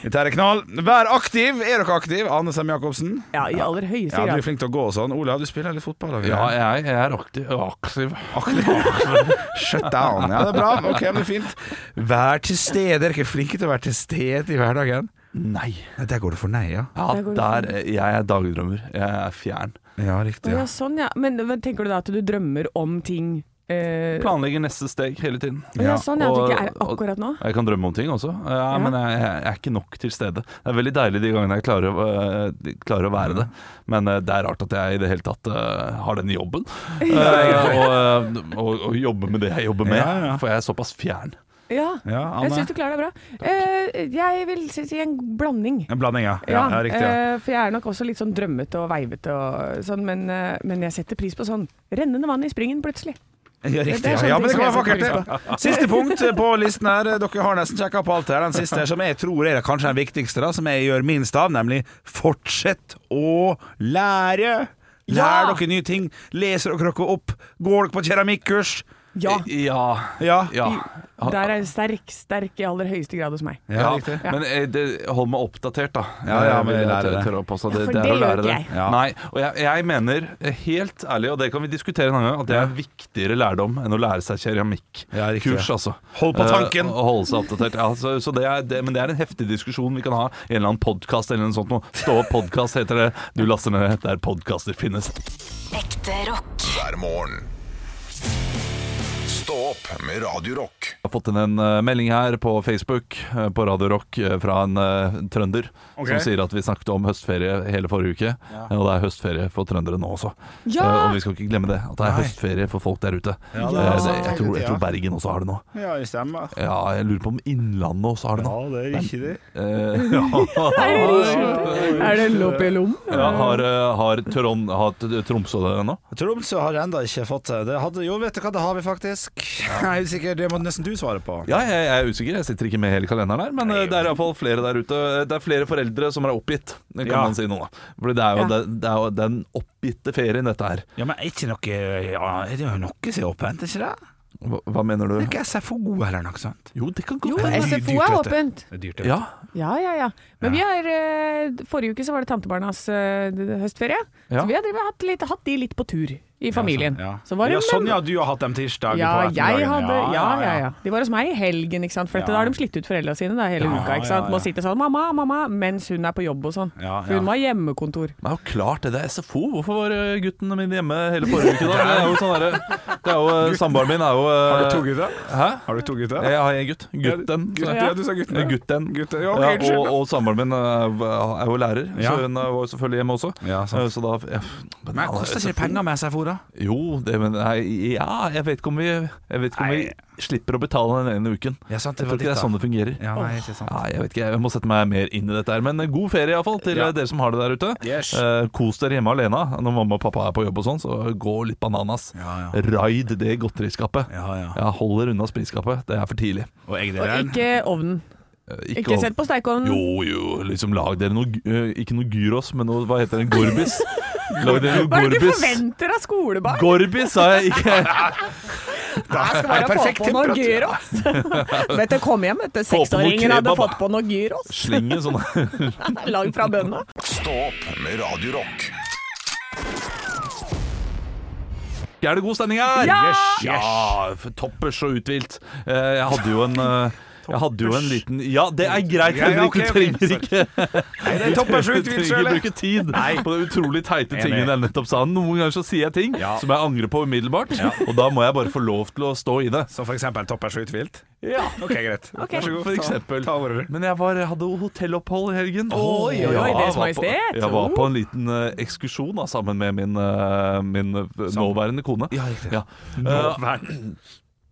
S1: Dette her er knall. Vær aktiv! Er dere aktiv? Anne Sem Jacobsen?
S2: Ja, I aller høyeste
S1: Ja, du
S2: grad.
S1: er flink til å gå og sånn. Olav, du spiller litt fotball? og
S3: Ja,
S1: greier.
S3: jeg, jeg er aktiv. aktiv.
S1: Shut down. Ja, det er bra. Ok, men det er fint. Vær til stede. Er dere ikke flinke til å være til stede i hverdagen?
S3: Nei.
S1: Nei, Der går det for nei, ja.
S3: Ja,
S2: Der går det
S3: der, jeg er dagdrømmer. Jeg er fjern.
S1: Ja, riktig.
S2: ja.
S1: Ja.
S2: sånn, ja. Men hva- tenker du da at du drømmer om ting eh,
S3: Planlegger neste steg hele tiden.
S2: ja, Sånn, ja. At
S3: Og-
S2: det ikke er akkurat nå?
S3: Jeg kan drømme om ting også, ja, men jeg, jeg er ikke nok til stede. Det er veldig deilig de gangene jeg klarer, å, øh, klarer å være det, men øh, det er rart at jeg i det hele tatt øh, har den jobben. Øh, og, øh, og, og jobber med det jeg jobber med,
S1: Ja, ja.
S3: for jeg er såpass fjern.
S2: Ja.
S1: ja,
S2: Jeg
S1: Anne.
S2: syns du klarer det bra. Eh, jeg vil si si en blanding.
S1: En blanding, ja. Ja, ja riktig. Ja.
S2: eh, for jeg er nok også litt sånn drømmete og veivete og sånn, men, eh, men jeg setter pris på sånn rennende vann i springen plutselig.
S1: Ja,
S2: det
S1: riktig.
S2: er
S1: Ja.
S2: sånne
S1: ja, men det
S2: ting
S1: kan være
S2: som jeg
S1: vakkert,
S2: setter
S1: det. Siste punkt på listen her. Dere har nesten sjekka på alt her. Den siste her, som jeg tror er kanskje den viktigste, da, som jeg gjør minst av, nemlig fortsett å lære. Lær
S2: Ja!
S1: dere nye ting. Leser dere dere opp? Går dere på keramikkurs?
S2: Ja.
S3: Eh, Ja.
S1: Ja.
S3: ja.
S2: I- Der er jeg sterk, sterk i aller høyeste grad hos meg.
S1: Ja, riktig.
S3: Men eh, det, hold meg oppdatert, da.
S1: Ja, ja, men
S3: Eh, vil jeg
S1: lære
S3: tør-
S1: det.
S3: tørre å påstå.
S2: Ja, for
S3: er
S2: det
S3: å
S2: gjør
S3: lære
S2: ikke
S3: det.
S2: jeg.
S1: Ja.
S3: Nei, og jeg, jeg mener eh, helt ærlig, og det kan vi diskutere en annen gang, at det er viktigere lærdom enn å lære seg keramikkurs,
S1: Ja, riktig, ja.
S3: altså.
S1: Hold på
S3: Eh,
S1: tanken.
S3: og holde seg oppdatert. Ja, så, så det er, det, men det er en heftig diskusjon vi kan ha i en eller annen podkast eller noe sånt noe. Stå opp podkast heter det. Du laster ned der podkaster finnes.
S7: Ekte rock.
S4: hver morgen. Stå opp med Radio Rock.
S3: Jeg har fått inn en eh, melding her på Facebook eh, på Radio Rock eh, fra en eh, trønder som sier at vi snakket om høstferie hele forrige uke, eh, og det er høstferie for trøndere nå også.
S2: Ja!
S3: Eh, og vi skal ikke glemme det, at det er høstferie for folk der ute.
S1: Ja, det er
S3: Eh,
S1: sant.
S3: det- jeg, tror, jeg tror Bergen også har det nå.
S1: Ja, det stemmer.
S3: Ja, jeg lurer på om Innlandet også har det nå.
S1: det er ikke det.
S3: Eh, ja.
S2: Er det lopelom?
S3: Ja, har, eh, har, Trond, har t- Tromsø det nå?
S1: Tromsø har ennå ikke fått det. det. Hadde, jo, vet du hva, det har vi faktisk. Jeg er usikker, det må nesten du svare på.
S3: Ja, jeg, jeg er usikker. Jeg sitter ikke med hele kalenderen her, men eh, det er iallfall flere der ute. Det er flere foreldre som er oppgitt, det kan
S1: Ja.
S3: man si nå. da. Fordi det er jo
S2: Ja.
S3: den- det er jo den oppgitte ferien, dette her.
S1: Ja, men er ikke noe ja, Er det jo noe som er åpent, er ikke det?
S3: Hva, hva mener
S1: Er
S3: du?
S1: ikke SFO eller noe sånt?
S3: Jo, det kan
S2: Jo,
S3: godt hende.
S1: dyrt,
S2: SFO er
S1: vet du.
S2: åpent.
S1: Det er dyrt,
S3: Ja,
S2: Ja, ja, ja. Men vi har eh, Forrige uke så var det tantebarnas eh, d- høstferie.
S3: Ja.
S2: Så vi har drevet, hatt, litt, hatt de litt på tur i familien.
S1: Ja,
S2: Så var det
S1: ja, sånn
S2: men-
S1: ja, du har hatt dem tirsdag
S2: Ja,
S1: på
S2: jeg
S1: ettermiddagen.
S2: hadde Ja, ja, ja. De var hos meg i helgen, ikke sant. For dette,
S1: Ja.
S2: da har de slitt ut foreldrene sine da, hele
S1: Ja,
S2: uka, ikke
S1: ja,
S2: sant.
S1: ja.
S2: Må sitte sånn 'mamma, mamma' mens hun er på jobb og sånn.
S1: Ja,
S2: For
S1: ja.
S2: hun må ha hjemmekontor.
S3: men det er jo klart det. Det er SFO. Hvorfor var eh, gutten min hjemme hele forrige uke, da? Det er jo sånn derre Det er jo eh, Samboeren min er jo eh,
S8: Har du to gutter?
S3: Hæ?
S8: Har du to gutter?
S3: Jeg har en gutt. Gutten.
S8: Gutt,
S3: så-
S8: ja, du sa gutten.
S3: Eh, Gutten.
S8: Gutter, ja, ok,
S3: Ja,
S8: unnskyld.
S3: og, og samboeren min eh, er jo lærer,
S1: Ja.
S3: så hun eh, var jo selvfølgelig hjemme også.
S1: Ja, sant.
S3: Eh, Så da ja,
S1: Men koster ikke det penger med SFO, da? da?
S3: Jo, det men nei, Ja, jeg vet ikke om vi, jeg vet ikke om
S1: Nei.
S3: vi slipper å betale den ene uken.
S1: Ja, sant, det
S3: jeg
S1: var
S3: tror ikke det
S1: ditt,
S3: er
S1: da.
S3: sånn det fungerer.
S1: Ja, nei, ikke sant.
S3: Ja, jeg vet ikke, jeg må sette meg mer inn i dette her Men eh, god ferie i hvert fall til
S1: Ja.
S3: eh, dere som har det der ute
S1: Yes.
S3: eh, Kos dere hjemme alene Når mamma og pappa er på jobb og sånn Så gå litt bananas
S1: Ja,
S3: Raid det godteriskapet
S1: Ja, ja.
S3: Jeg holder unna spriskapet, det er for tidlig
S1: Og
S2: Og
S1: eggdeleren?
S2: ikke ovnen.
S3: Eh,
S2: Ikke
S3: ov-
S2: sett på steikeovnen.
S3: Jo, jo, liksom lag dere noe eh, Ikke noe gyros, men noe, hva heter den? Gorbis Lag dere noe
S2: Hva er det du
S3: gorbis
S2: forventer av skolebarn?
S3: Gorbis, sa jeg ikke
S2: Jeg skal bare få
S1: perfekt
S2: på noe
S1: temperatur.
S2: gyros. vet du, kom hjem, vet du.
S3: noe
S2: Seksåringen hadde
S3: kebab, da.
S2: fått på noe gyros.
S3: Sleng en sånn
S2: Lag fra bøndene.
S4: Stå opp med Radio Rock.
S3: Er det god stemning her?
S2: Ja!
S3: Yes, ja for toppers og uthvilt. Eh, Jeg hadde jo en eh, jeg hadde jo en liten Ja, det er greit,
S1: Ja, ja,
S3: Henrik.
S1: ok,
S3: Du trenger
S1: ok,
S3: ikke
S1: Nei, det er toppers
S3: Du
S1: og
S3: trenger ikke bruke tid på de utrolig teite
S1: Enig.
S3: tingene jeg nettopp sa. Noen ganger så sier jeg ting
S1: Ja.
S3: som jeg angrer på umiddelbart, og da må jeg bare få lov til å stå i det.
S1: Som for eksempel toppers og utvilt?
S3: Ja,
S1: Ok, greit.
S2: Ok.
S1: Vær så god.
S3: For
S1: ta-
S3: eksempel.
S1: Ta ordet.
S3: Men jeg var, hadde jo hotellopphold i helgen.
S2: Oi, oi, oi,
S3: Ja,
S2: Deres
S3: jeg var på-
S2: Majestet.
S3: Jeg var
S1: Oh.
S3: på en liten eh, ekskursjon da, sammen med min, eh, min eh, nåværende kone.
S1: Ja, riktig.
S3: Ja. Eh,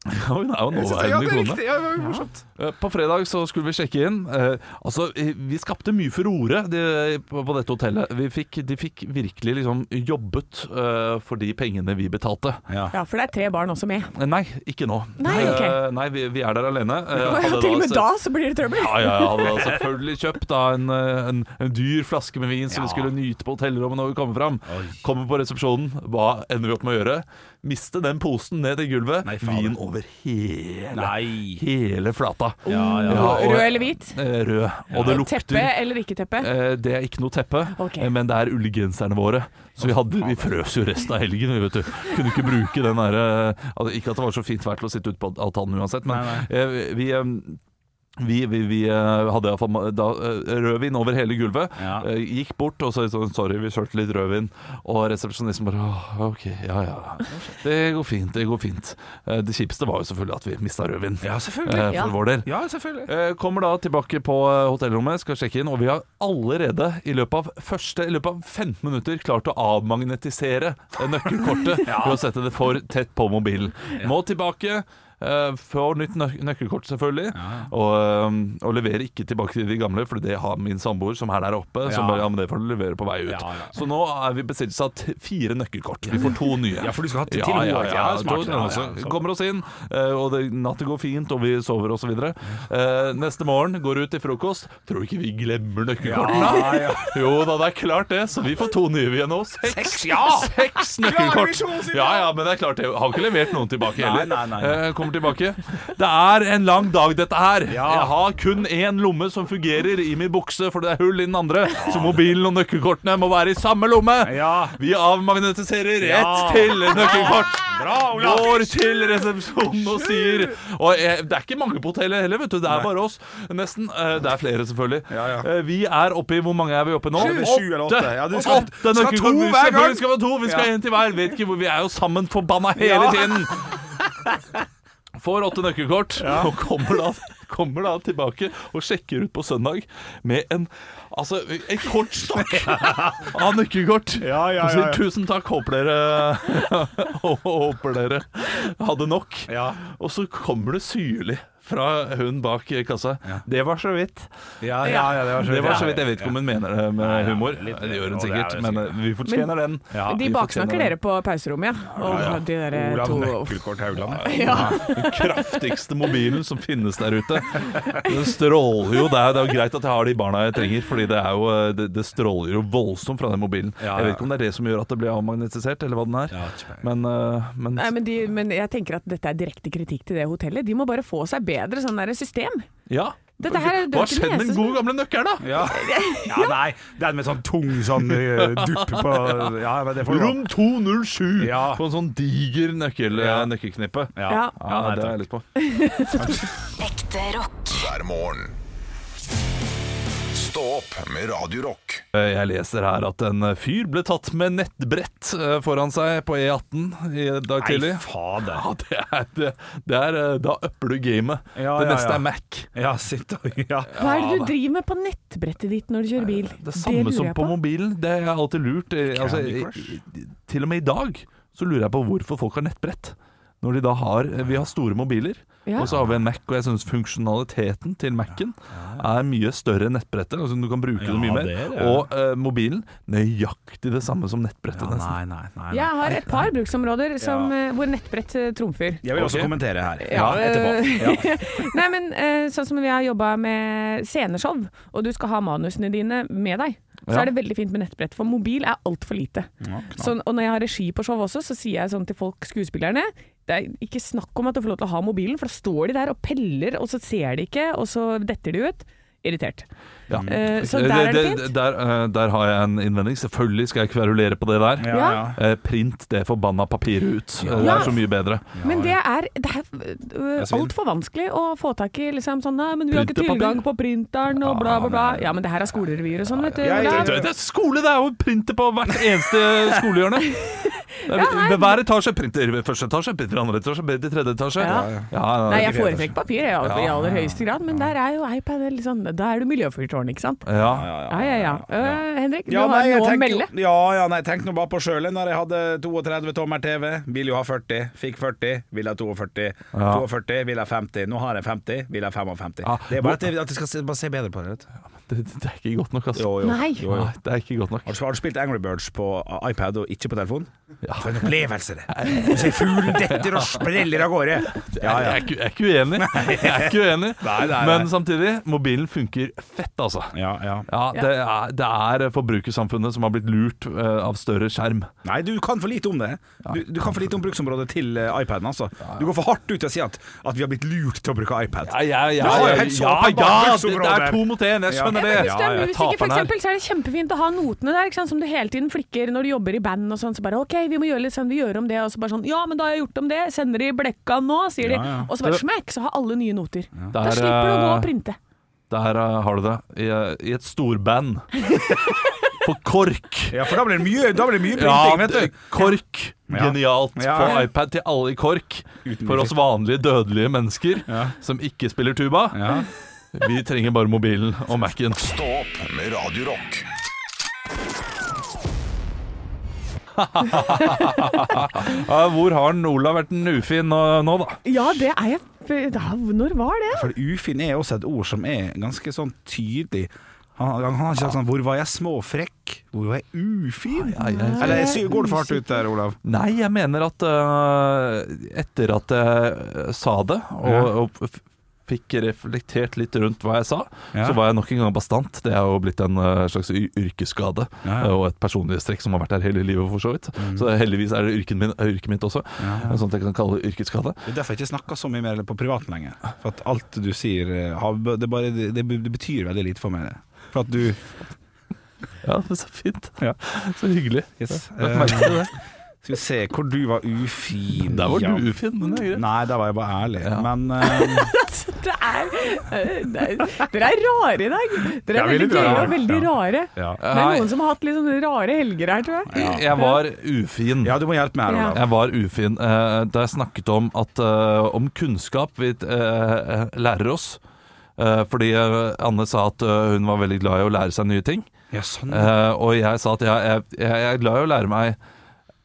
S3: Ja, hun er jo
S1: Ja,
S3: nåværende
S1: det er
S3: kone.
S1: riktig. Ja, det var jo morsomt.
S3: Eh, På fredag så skulle vi sjekke inn. Eh, altså, eh, vi skapte mye furore de- på på dette hotellet. Vi fikk, de fikk virkelig liksom jobbet eh, for de pengene vi betalte.
S2: Ja, for det er tre barn også med.
S3: Eh, Nei, ikke nå.
S2: Nei, ok.
S3: Eh, nei vi, vi er der alene. Eh,
S2: Og
S3: hadde
S2: til og med
S3: se-
S2: da så blir det trøbbel.
S3: Ja, ja, jeg hadde da selvfølgelig kjøpt da en, eh, en, en dyr flaske med vin som vi
S1: Ja.
S3: skulle nyte på hotellrommet når vi kommer fram.
S1: Oi.
S3: Kommer på resepsjonen, hva ender vi opp med å gjøre? Miste den posen ned i gulvet.
S1: Nei, faen.
S3: vin over hele,
S1: Nei.
S3: hele flata.
S1: ja.
S3: Ja, og-
S2: Rød eller hvit?
S3: Eh, Rød. Og det lukter
S2: Teppe eller ikke teppe?
S3: Eh, Det er ikke noe teppe,
S2: Ok.
S3: eh, men det er ullgenserne våre. Så vi, hadde, vi frøs jo resten av helgen. vi, Vet du. Kunne ikke bruke den derre altså, Ikke at det var så fint vær til å sitte ute på altanen uansett, men
S1: Nei,
S3: eh, vi eh, vi, vi, vi eh, hadde iallfall da, eh, rødvin over hele gulvet.
S1: Ja.
S3: Eh, Gikk bort og sa sånn, 'sorry, vi kjørte litt rødvin'. Og resepsjonisten bare «Åh, 'ok, ja ja, det går fint', det går fint. Eh, Det kjipeste var jo selvfølgelig at vi mista rødvin.
S1: Ja, selvfølgelig.
S3: eh,
S2: Ja.
S3: For vår del.
S1: Ja, selvfølgelig.
S3: Eh, Kommer da tilbake på eh, hotellrommet, skal sjekke inn, og vi har allerede i løpet av første, i løpet av 15 minutter klart å avmagnetisere eh, nøkkelkortet ved å sette det for tett på mobilen. Må tilbake. eh, Får nytt nøk nøkkelkort, selvfølgelig, og, eh, og leverer ikke tilbake til de gamle, for det har min samboer som er der oppe.
S1: Ja.
S3: Som bare, ja, men det får du levere på vei ut.
S1: Ja, ja.
S3: Så nå er vi bestilt av t- fire nøkkelkort. Vi får to nye.
S1: Ja, for du skal ha til-
S3: Ja,
S1: til
S3: ja,
S1: hodet.
S3: ja,
S1: Ja, smart. Ja,
S3: to-
S1: ja,
S3: altså,
S1: så-
S3: Kommer oss inn, eh, og det, natten går fint, og vi sover osv. Uh, neste morgen går ut til frokost. Tror du ikke vi glemmer nøkkelkortene?
S1: Ja, ja.
S3: Jo da, det er klart det. Så vi får to nye vi igjen nå. Seks,
S1: Seks, ja!
S3: Seks
S1: Klarer vi
S3: nøkkelkort!
S1: to siden?
S3: Ja, ja, men det er klart det. Har ikke levert noen tilbake heller.
S1: Nei, nei, nei.
S3: Eh, kommer tilbake. Det er en lang dag, dette her.
S1: Ja.
S3: Jeg har kun én lomme som fungerer i min bukse, for det er hull i den andre. Så mobilen og nøkkelkortene må være i samme lomme.
S1: Ja.
S3: Vi avmagnetiserer ett
S1: Ja.
S3: til nøkkelkort.
S1: Bra, Ola.
S3: Går til resepsjonen og sier Og jeg, det er ikke mange på hotellet heller, vet du. Det er bare oss, nesten. Eh, Det er flere, selvfølgelig.
S1: Ja, ja.
S3: Eh, Vi er oppe i Hvor mange er vi oppe i nå?
S1: Sju, sju eller åtte. Ja, du skal-
S3: Åtte
S1: skal
S3: nøkkelkort.
S1: to hver gang.
S3: Selvfølgelig skal vi ha to. Vi skal
S1: Ja.
S3: ha en til hver. Vet ikke hvor Vi er jo sammen forbanna hele
S1: Ja.
S3: tiden. Får åtte nøkkelkort og kommer da, kommer da tilbake og sjekker ut på søndag med en Altså, en kortstokk av nøkkelkort.
S1: Ja, ja, ja,
S3: Og
S1: ja.
S3: sier 'tusen takk, håper dere Håper dere hadde nok'.
S1: Ja.
S3: Og så kommer det syrlig fra hun bak kassa. Det var så vidt.
S1: Ja, ja, ja, det var så
S3: Det var så
S1: Ja,
S3: vidt. Jeg vet ikke om hun mener det med humor.
S1: litt-
S3: Det gjør hun
S1: og det er
S3: sikkert,
S1: det
S3: men eh,
S1: sikkert.
S3: vi fortjener den.
S1: Ja.
S2: De
S3: vi
S2: baksnakker
S3: fortjener
S2: dere på pauserommet, ja. Og de
S1: ja.
S2: der
S1: Olav
S2: to
S1: Nøkkelkort Haugland.
S2: ja.
S3: Den kraftigste mobilen som finnes der ute. Den stråler jo. Det er, det er jo greit at jeg har de barna jeg trenger, Fordi det, er jo, eh, det, det stråler jo voldsomt fra den mobilen.
S1: Ja,
S3: Jeg
S1: ja.
S3: vet ikke om det er det som gjør at det blir avmagnetisert, eller hva den er.
S1: Ja, ikke peiling.
S3: Men, øh, men,
S2: Nei, men, de, men jeg tenker at dette er direkte kritikk til det hotellet. De må bare få seg bedre sånn der system.
S3: ja.
S2: Dette her er- det er
S3: Hva
S2: ikke
S3: skjedde med
S2: nese-
S3: den gode gamle nøkkelen, da?
S1: Ja. ja, nei. Den med sånn tung sånn eh, dupp på Ja, men det får du ha.
S3: Rom 207
S1: Ja.
S3: på en sånn diger nøkkel,
S1: Ja.
S3: nøkkelknippe. Ja,
S2: Ja.
S1: nei,
S3: det er
S1: takk.
S3: jeg litt på.
S7: Ekte rock.
S4: hver morgen. Stå opp med Radio Rock.
S3: Eh, Jeg leser her at en eh, fyr ble tatt med nettbrett eh, foran seg på E18 i dag tidlig.
S1: Nei, fader.
S3: Ja, det er, det, det er eh, Da upper du gamet.
S1: Ja,
S3: det
S1: ja,
S3: neste
S1: ja.
S3: er Mac.
S1: Ja, sitt og Ja.
S2: Hva er det du driver med på nettbrettet ditt når du kjører bil?
S3: Det samme
S2: lurer
S3: som
S2: jeg
S3: på mobilen. Det er alltid lurt. Eh, Altså,
S1: Candy
S3: i-
S1: Crush.
S3: i- til og med i dag så lurer jeg på hvorfor folk har nettbrett. Når de da har eh, Vi har store mobiler,
S2: Ja.
S3: og så har vi en Mac, og jeg syns funksjonaliteten til Mac-en er mye større enn nettbrettet. Altså du kan bruke
S1: Ja,
S3: det mye mer.
S1: det er det.
S3: Og eh, mobilen nøyaktig det samme som nettbrettet,
S1: Ja,
S3: nesten.
S1: nei, nei, nei, nei.
S2: Jeg har et par bruksområder som, eh, hvor nettbrett eh, trumfer.
S1: Jeg vil også
S3: Ok.
S1: kommentere her.
S2: Ja,
S1: etterpå. Ja.
S2: Nei, men eh, sånn som vi har jobba med sceneshow, og du skal ha manusene dine med deg, så
S3: Ja.
S2: er det veldig fint med nettbrett, for mobil er altfor lite. Så, og når jeg har regi på show også, så sier jeg sånn til folk, skuespillerne det er ikke snakk om at du får lov til å ha mobilen, for da står de der og peller, og så ser de ikke, og så detter de ut. Irritert.
S3: Ja.
S2: Eh, så der er det fint.
S3: Der, eh, der har jeg en innvending. Selvfølgelig skal jeg kverulere på det der.
S1: Ja, ja.
S3: Eh, print det forbanna papiret ut. Eh, Det
S2: Ja.
S3: er så mye bedre.
S2: Men det er, det er øh,
S3: svin.
S2: altfor vanskelig å få tak i. Liksom, sånn, nei, men vi har ikke
S3: Printepapir.
S2: tilgang på printeren og bla, bla, bla. Ja, men det her er skolerevyer og sånn, vet du.
S1: Ja, ja, ja.
S2: Olav.
S3: Det, det er skole! Det er jo printer på hvert eneste skolehjørne. Det er-
S2: nei.
S3: Ved hver etasje printer. ved Første etasje, printer andre etasje, printer tredje etasje.
S2: Ja.
S3: Ja,
S2: Nei,
S3: ja,
S2: jeg foretrekker papir jeg, i aller høyeste grad, men der er jo iPad litt sånn Da er du miljøfyrtårn, ikke sant?
S3: ja.
S2: Ja, ja, ja. Øh, Henrik, du
S1: Ja,
S2: har
S1: nei, jeg
S2: noe å
S1: tenker
S2: melde.
S1: jo- Ja, ja, nei, tenk nå bare på sjøl. Når jeg hadde 32 tommer TV, ville jo ha 40, fikk 40, ville ha 42.
S3: Ja.
S1: 42, ville ha 50. Nå har jeg 50, ville ha 55.
S3: Ja.
S1: Det er bare at jeg, at jeg skal se, bare se bedre på det. vet du.
S3: Det, det er ikke godt nok, altså.
S1: Jo, jo.
S2: Nei.
S1: Jo, jo.
S3: Nei, det er ikke godt nok.
S1: Har du, har du spilt Angry Birds på uh, iPad og ikke på telefon?
S3: Ja.
S1: For en opplevelse det Du ser fuglen detter og spreller av gårde Ja,
S3: Jeg,
S1: ja
S3: er ikke, jeg er ikke uenig. Jeg er ikke uenig.
S1: Nei, nei, nei.
S3: Men samtidig, mobilen funker fett, altså.
S1: ja, ja.
S3: Ja, det er, det er forbrukersamfunnet som har blitt lurt eh, av større skjerm.
S1: Nei, du kan for lite om det Du, du kan for lite om bruksområdet til eh, iPaden altså. Du går for hardt ut til å si at, at vi har blitt lurt til å bruke iPad
S3: Ja, ja, ja,
S1: Ja,
S3: ja,
S1: helt
S3: ja,
S1: åpenbart
S3: ja det, det
S1: bruksområder.
S3: er to mot én, jeg
S1: Ja.
S3: skjønner
S1: Ja, men
S3: det.
S2: Hvis du er musiker for
S3: Taperen her.
S2: eksempel, så er det kjempefint å ha notene der, ikke sant? som du hele tiden flikker når du jobber i band og sånn. Så bare OK, vi må gjøre litt sånn, vi gjør om det. Og så bare sånn Ja, men da har jeg gjort om det. Sender de blekka nå, sier de.
S1: Ja, ja.
S2: Og så bare smekk, så har alle nye noter. Da
S3: Der,
S2: slipper du å gå
S3: eh,
S1: øh,
S2: og printe.
S3: Der eh, har du det. I, eh, i et storband. På KORK.
S1: Ja, for da blir det mye, da blir det mye
S3: Ja,
S1: printing, vet du
S3: KORK.
S1: Ja.
S3: Genialt.
S1: Ja.
S3: På iPad til alle i KORK.
S1: Uten
S3: For
S1: musikk.
S3: oss vanlige dødelige mennesker
S1: Ja.
S3: som ikke spiller tuba.
S1: ja.
S3: Vi trenger bare mobilen og Mac-en.
S4: Stå opp med Radio Rock.
S3: Ja, hvor har den Olav vært den ufin nå, nå, da?
S2: Ja, det er jeg da, Når var det?
S1: For ufin er også et ord som er ganske sånn tydelig han, han har ikke sagt sånn, hvor var jeg småfrekk? Hvor var jeg ufin? Eller jeg sy- går det for hardt ut der, Olav?
S3: Nei, jeg mener at eh, etter at jeg eh, sa det, og, og f- fikk reflektert litt rundt hva jeg sa,
S1: Ja.
S3: så var jeg nok en gang bastant. Det er jo blitt en eh, slags y- yrkesskade
S1: Ja, Mm. ja.
S3: eh, og et personlighetstrekk som har vært der hele livet, for så vidt. Så heldigvis er det yrken min, er yrket mitt også, sånn at jeg kan kalle det yrkesskade.
S1: Det er derfor jeg ikke snakker så mye mer på privaten lenger. For at alt du sier, eh, har- det, bare, det, det betyr veldig lite for meg. det. For at du
S3: Ja, men så fint.
S1: Ja.
S3: Så hyggelig.
S1: yes,
S3: Jeg
S1: eh,
S3: merket det.
S1: Skal vi se hvor du var ufin.
S3: Der var
S1: Ja.
S3: du ufin, men det er greit.
S1: Nei, der var jeg bare ærlig.
S3: Ja.
S1: Men eh,
S2: Det er, øh, det er, dere er rare i dag.
S1: Ja, vi
S2: Dere er
S1: er
S2: veldig
S1: litt
S2: gøye
S1: rare.
S2: og veldig
S1: Ja.
S2: rare.
S1: ja.
S2: Det er noen som har hatt litt sånne rare helger her, tror jeg.
S3: Jeg var ufin.
S1: ja, du må hjelpe meg her,
S2: Ja.
S1: Olav.
S3: Jeg var ufin eh, da jeg snakket om at eh, om kunnskap vi eh, lærer oss. Eh, fordi eh, Anne sa at eh, hun var veldig glad i å lære seg nye ting.
S1: Ja, sånn.
S3: Eh, og jeg sa at jeg, jeg, jeg er glad i å lære meg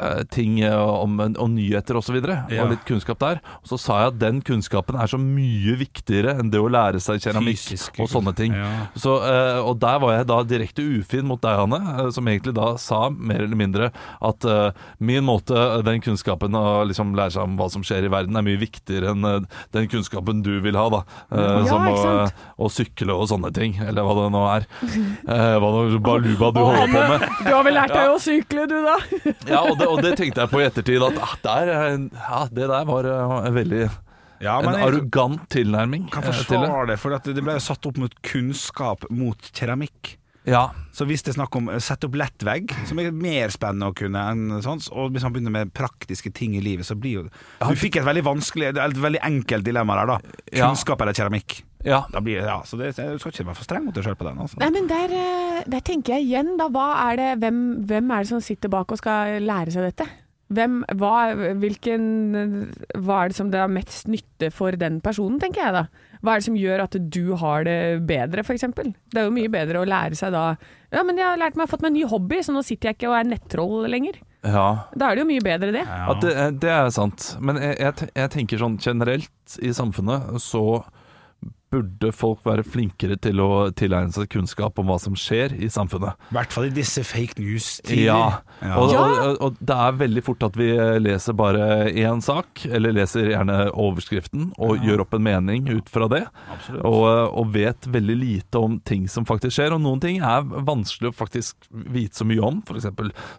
S3: eh, ting eh, om, om nyheter osv. videre
S1: Ja.
S3: Og litt kunnskap der. Og så sa jeg at den kunnskapen er så mye viktigere enn det å lære seg keramikk
S1: Fysisk.
S3: og sånne ting.
S1: Ja.
S3: Så, eh, og der var jeg da direkte ufin mot deg, Hanne, eh, som egentlig da sa mer eller mindre at eh, min måte, den kunnskapen å liksom lære seg om hva som skjer i verden, er mye viktigere enn eh, den kunnskapen du vil ha, da. Eh,
S2: Ja,
S3: som
S2: ikke
S3: å,
S2: sant?
S3: å sykle og sånne ting, eller hva det nå er. Eh, hva nå baluba du holder på med.
S2: Du har vel lært deg å sykle, du da?
S3: Ja, og det, og det tenkte jeg på i ettertid, at ah, der, eh, ja, det der var eh, en veldig
S1: Ja,
S3: en
S1: men jeg
S3: arrogant tilnærming
S1: kan
S3: eh, til det.
S1: forsvare det, for at det ble jo satt opp mot kunnskap mot keramikk.
S3: Ja,
S1: Så hvis det er snakk om å sette opp lettvegg, som er mer spennende å kunne enn sånn, og hvis man begynner med praktiske ting i livet, så blir jo Du fikk et veldig vanskelig, et veldig enkelt dilemma der, da.
S3: Ja.
S1: Kunnskap eller keramikk.
S3: ja.
S1: Da blir, det- ja, så det, du skal ikke være for streng mot deg sjøl på den. Altså.
S2: Nei, men der, eh, der tenker jeg igjen, da. Hva er det, hvem, hvem er det som sitter bak og skal lære seg dette? Hvem, hva, hvilken, hva er det som det er mest nytte for den personen, tenker jeg da. Hva er det som gjør at du har det bedre, f.eks.? Det er jo mye bedre å lære seg da Ja, men jeg har lært meg, fått meg en ny hobby, så nå sitter jeg ikke og er nettroll lenger.
S3: Ja.
S2: Da er det jo mye bedre, det.
S3: Ja, det, er- det er sant. Men jeg, jeg, te- jeg tenker sånn generelt i samfunnet så burde folk være flinkere til å tilegne seg kunnskap om hva som skjer i samfunnet.
S8: I hvert fall i disse fake news-tider.
S3: Ja. Og,
S2: Ja.
S3: og, og, og det er veldig fort at vi eh, leser bare én sak, eller leser gjerne overskriften, og gjør opp en mening ut fra det. Og, eh, og vet veldig lite om ting som faktisk skjer. Og noen ting er vanskelig å faktisk vite så mye om. F.eks.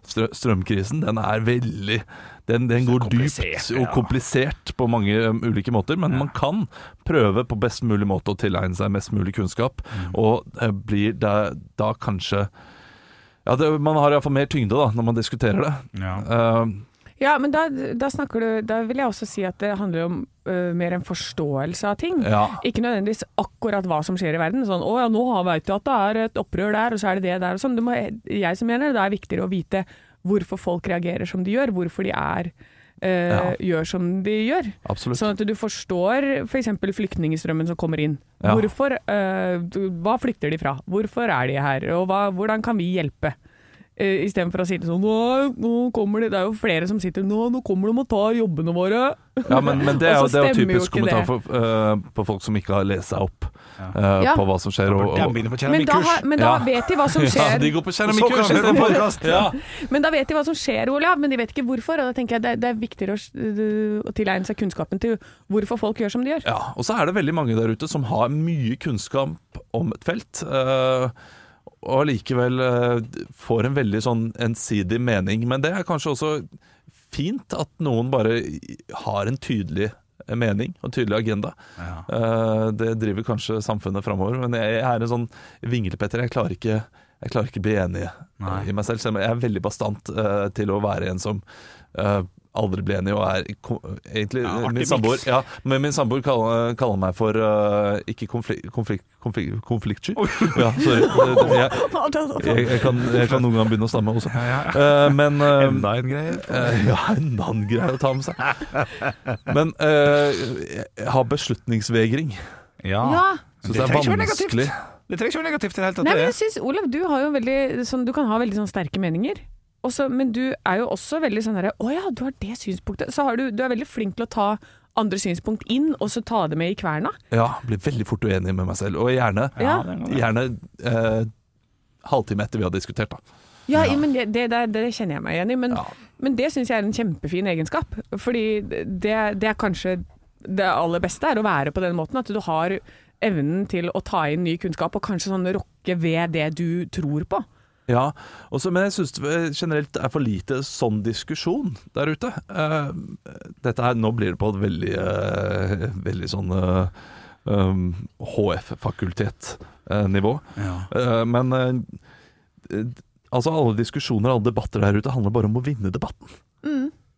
S3: Strø strømkrisen. Den er veldig Den, den går dypt
S8: komplisert,
S3: og
S8: ja.
S3: komplisert på mange um, ulike måter, men man kan prøve på best mulig måte å tilegne seg mest mulig kunnskap,
S2: Mm.
S3: og eh, blir da, da kanskje ja, det, Man har iallfall mer tyngde da, når man diskuterer det.
S8: Ja.
S3: Eh,
S2: Ja, men da, da snakker du Da vil jeg også si at det handler om øh, mer en forståelse av ting.
S3: Ja.
S2: Ikke nødvendigvis akkurat hva som skjer i verden. Sånn 'Å ja, nå veit du at det er et opprør der, og så er det det der', og sånn. Du må, jeg som mener det er viktigere å vite hvorfor folk reagerer som de gjør. Hvorfor de er øh, gjør som de gjør.
S3: absolutt.
S2: Sånn at du forstår f.eks. For flyktningstrømmen som kommer inn.
S3: Ja.
S2: Hvorfor, øh, du- hva flykter de fra? Hvorfor er de her? Og hva, hvordan kan vi hjelpe? Uh, Istedenfor å si det sånn nå, nå kommer de, Det er jo flere som sitter nå, nå kommer de og tar jobbene våre.
S3: Ja, men, men det, er, jo-
S2: Og så
S3: det er jo
S2: stemmer jo
S3: typisk
S2: ikke det.
S3: kommentar for, eh, på folk som ikke har lest seg opp eh,
S2: Ja.
S3: på hva som skjer. Og,
S8: Jeg
S3: og,
S8: begynner på
S2: Men da,
S8: keramikkurs.
S2: har- men da
S3: Ja.
S2: vet de hva som
S3: ja,
S2: skjer.
S3: de går på
S8: Så kan
S3: keramikkurs!
S8: vi høre på
S3: istedenfor.
S8: podcast.
S3: Ja.
S2: Men da vet de hva som skjer, Olav, men de vet ikke hvorfor. Og da tenker jeg det, det er viktigere å, s- øh, å tilegne seg kunnskapen til hvorfor folk gjør som de gjør.
S3: Ja, og så er det veldig mange der ute som har mye kunnskap om et felt, eh, og likevel eh, får en veldig sånn ensidig mening. Men det er kanskje også fint at noen bare har en tydelig mening og en tydelig agenda. Eh, det driver kanskje samfunnet framover, men jeg, jeg er en sånn vinglepetter. Jeg klarer ikke jeg klarer ikke å bli enig i meg selv, selv om jeg er veldig bastant eh, til å være en som eh, aldri blir enig og er ko- egentlig
S8: Ja, artig
S3: min
S8: miks.
S3: samboer ja, men min samboer kaller, kaller meg for eh, ikke konflikt, konflikt, konflikt, konfliktsky. Ja, sorry. Jeg, jeg, jeg, kan, jeg kan noen gang begynne å stamme også. Eh, men eh,
S8: Enda en greie.
S3: eh, Ja, enda en greie å ta med seg. Men eh, jeg har beslutningsvegring.
S2: Ja.
S3: Så
S8: Det
S3: det er
S8: trenger ikke være negativt.
S3: vanskelig.
S8: Det trenger ikke være negativt i det hele tatt.
S2: Nei, men
S8: det
S2: jeg synes, Olav, du, har jo veldig, sånn, du kan ha veldig sånn sterke meninger. Også, men du er jo også veldig sånn derre Å ja, du har det synspunktet. Så har du, du er veldig flink til å ta andre synspunkt inn, og så ta det med i kverna.
S3: Ja, blir veldig fort uenig med meg selv. Og gjerne,
S2: Ja.
S3: gjerne eh, halvtime etter vi har diskutert, da.
S2: Ja, men det, det, det, det kjenner jeg meg igjen i, men,
S3: Ja.
S2: men det syns jeg er en kjempefin egenskap. Fordi det, det er kanskje det aller beste er å være på den måten, at du har evnen til å ta inn ny kunnskap, og kanskje sånn rokke ved det du tror på.
S3: Ja, også, Men jeg syns generelt det er for lite sånn diskusjon der ute. Eh, dette her, Nå blir det på et veldig, eh, veldig sånn eh, um, HF-fakultet-nivå. Eh, men eh, eh, altså alle diskusjoner og alle debatter der ute handler bare om å vinne debatten.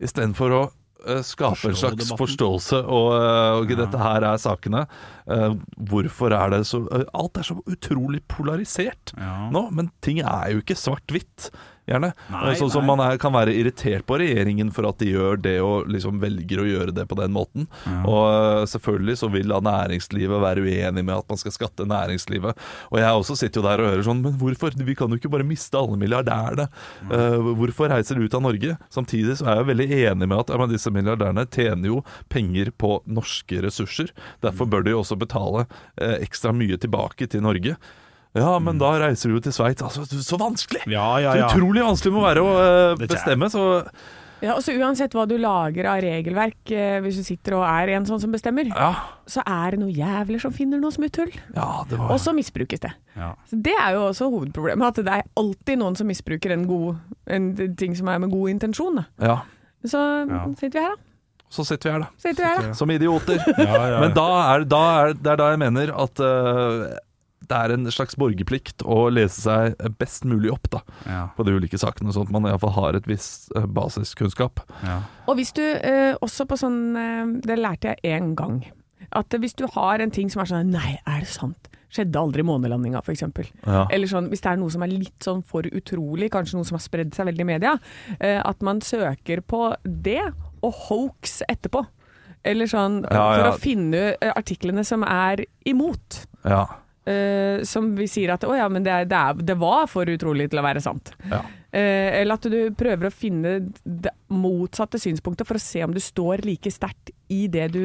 S3: Istedenfor å eh, skape en
S8: Forstå
S3: slags
S8: debatten.
S3: forståelse og eh, ok, dette her er sakene. Eh, hvorfor er det så eh, Alt er så utrolig polarisert nå, men ting er jo ikke svart-hvitt. Gjerne.
S8: Nei,
S3: Eh, sånn som
S8: nei.
S3: man er, kan være irritert på regjeringen for at de gjør det og liksom velger å gjøre det på den måten. Og eh, selvfølgelig så vil da næringslivet være uenig med at man skal skatte næringslivet. Og jeg også sitter jo der og hører sånn Men hvorfor? Vi kan jo ikke bare miste alle milliardærene. Eh, hvorfor reiser de ut av Norge? Samtidig så er jeg jo veldig enig med at ja, men disse milliardærene tjener jo penger på norske ressurser. Derfor bør de jo også betale eh, ekstra mye tilbake til Norge. Ja, men da reiser du jo til Sveits. Altså, så vanskelig!
S8: Ja, ja, ja.
S3: Så utrolig vanskelig det må være å eh,
S8: Det er-
S3: bestemme, så
S2: Ja, og så Uansett hva du lager av regelverk, eh, hvis du sitter og er en sånn som bestemmer,
S3: ja.
S2: så er det noen jævler som finner noe smutthull,
S3: ja, det var
S2: og så misbrukes det.
S8: Ja.
S2: Så Det er jo også hovedproblemet, at det er alltid noen som misbruker en, god, en ting som er med god intensjon. Da.
S3: Ja,
S2: Så sitter vi her, da.
S3: så sitter vi her, da.
S2: Så sitter vi her, da.
S3: Som idioter. Men da er, da er det er da jeg mener at eh, det er en slags borgerplikt å lese seg best mulig opp da,
S8: Ja.
S3: på de ulike sakene, sånn at man iallfall har et visst eh, basiskunnskap.
S2: Og hvis du eh, også på sånn eh, Det lærte jeg én gang. At eh, hvis du har en ting som er sånn Nei, er det sant? Skjedde aldri månelandinga, f.eks.
S3: Ja.
S2: Eller sånn, hvis det er noe som er litt sånn for utrolig, kanskje noe som har spredd seg veldig i media. Eh, at man søker på det, og hoax etterpå. eller sånn,
S3: Ja,
S2: for
S3: ja.
S2: å finne eh, artiklene som er imot.
S3: Ja.
S2: Eh, som vi sier at å ja, men det, er, det, er, det var for utrolig til å være sant.
S3: Ja.
S2: Eh, eller at du prøver å finne det motsatte synspunktet for å se om du står like sterkt i det du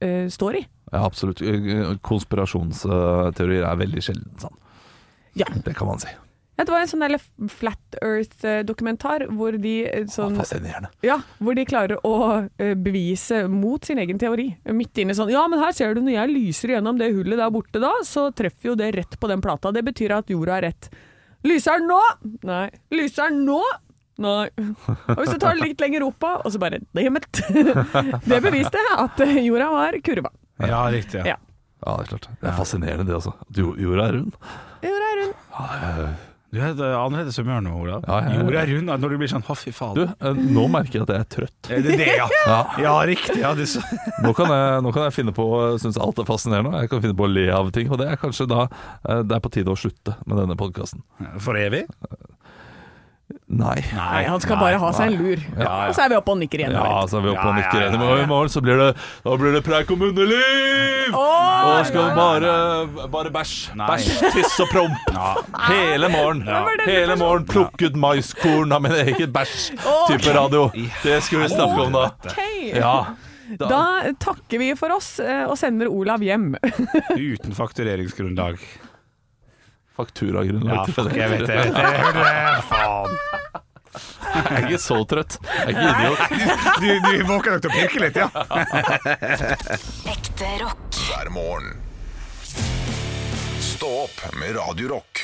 S2: eh, står i.
S3: ja, absolutt. Eh, Konspirasjonsteorier er veldig sjelden sann.
S2: Ja.
S3: Det kan man si.
S2: Ja, det var en sånn der Flat Earth-dokumentar hvor de eh, sånn
S3: Fascinerende.
S2: Ja, hvor de klarer å eh, bevise mot sin egen teori. Midt inne sånn Ja, men her ser du, når jeg lyser gjennom det hullet der borte da, så treffer jo det rett på den plata. Det betyr at jorda er rett. Lyser den nå? Nei. Lyser den nå? Nei. Og hvis du tar det litt lenger opp, da, og så bare Damn it! Det beviste at eh, jorda var kurva.
S8: Ja, riktig.
S2: Ja.
S3: Ja, det er klart. Det er fascinerende, det også. At jo- jorda er rund.
S2: Jorda er rund.
S8: Du er et eh, annerledes humør nå, Olav.
S3: Ja, ja, ja.
S8: Jorda er rund. Når du blir sånn Å, fy
S3: Du,
S8: faen.
S3: eh, nå merker jeg at jeg er trøtt.
S8: Er det det, ja?
S3: Ja.
S8: Ja, riktig. Ja, det, så.
S3: Nå kan jeg, nå kan jeg finne på eh, synes alt er fascinerende. og Jeg kan finne på å le av ting. Og det er kanskje da eh, det er på tide å slutte med denne podkasten.
S8: For evig?
S3: Nei.
S2: Nei, han skal bare ha seg en lur. Og så er vi oppe og nikker igjen.
S3: Ja, så er vi oppe og
S8: Ja,
S3: nikker
S8: ja,
S3: igjen. I morgen- I morgen så blir det Da blir det preik om underliv!
S2: Åh,
S3: og skal bare Bare bæsj.
S8: Nei.
S3: Bæsj, tiss og promp. Hele morgen.
S2: var den
S3: Hele
S2: personen?
S3: morgen
S8: sånn?
S3: plukket maiskorn av min egen bæsj-type radio. Det skal vi snakke om da.
S2: Ok.
S3: Ja.
S2: Da takker vi for oss eh, og sender Olav hjem.
S8: Uten faktureringsgrunnlag.
S3: Fakturagrunnlag. til
S8: fuck, jeg vet det.
S3: Federer.
S8: Jeg vet det. Faen.
S3: Jeg er ikke så trøtt. Jeg er ikke idiot.
S8: Du, du våker nok til å pirke litt, ja.
S7: Ekte rock.
S4: hver morgen. Stå opp med Radio Rock.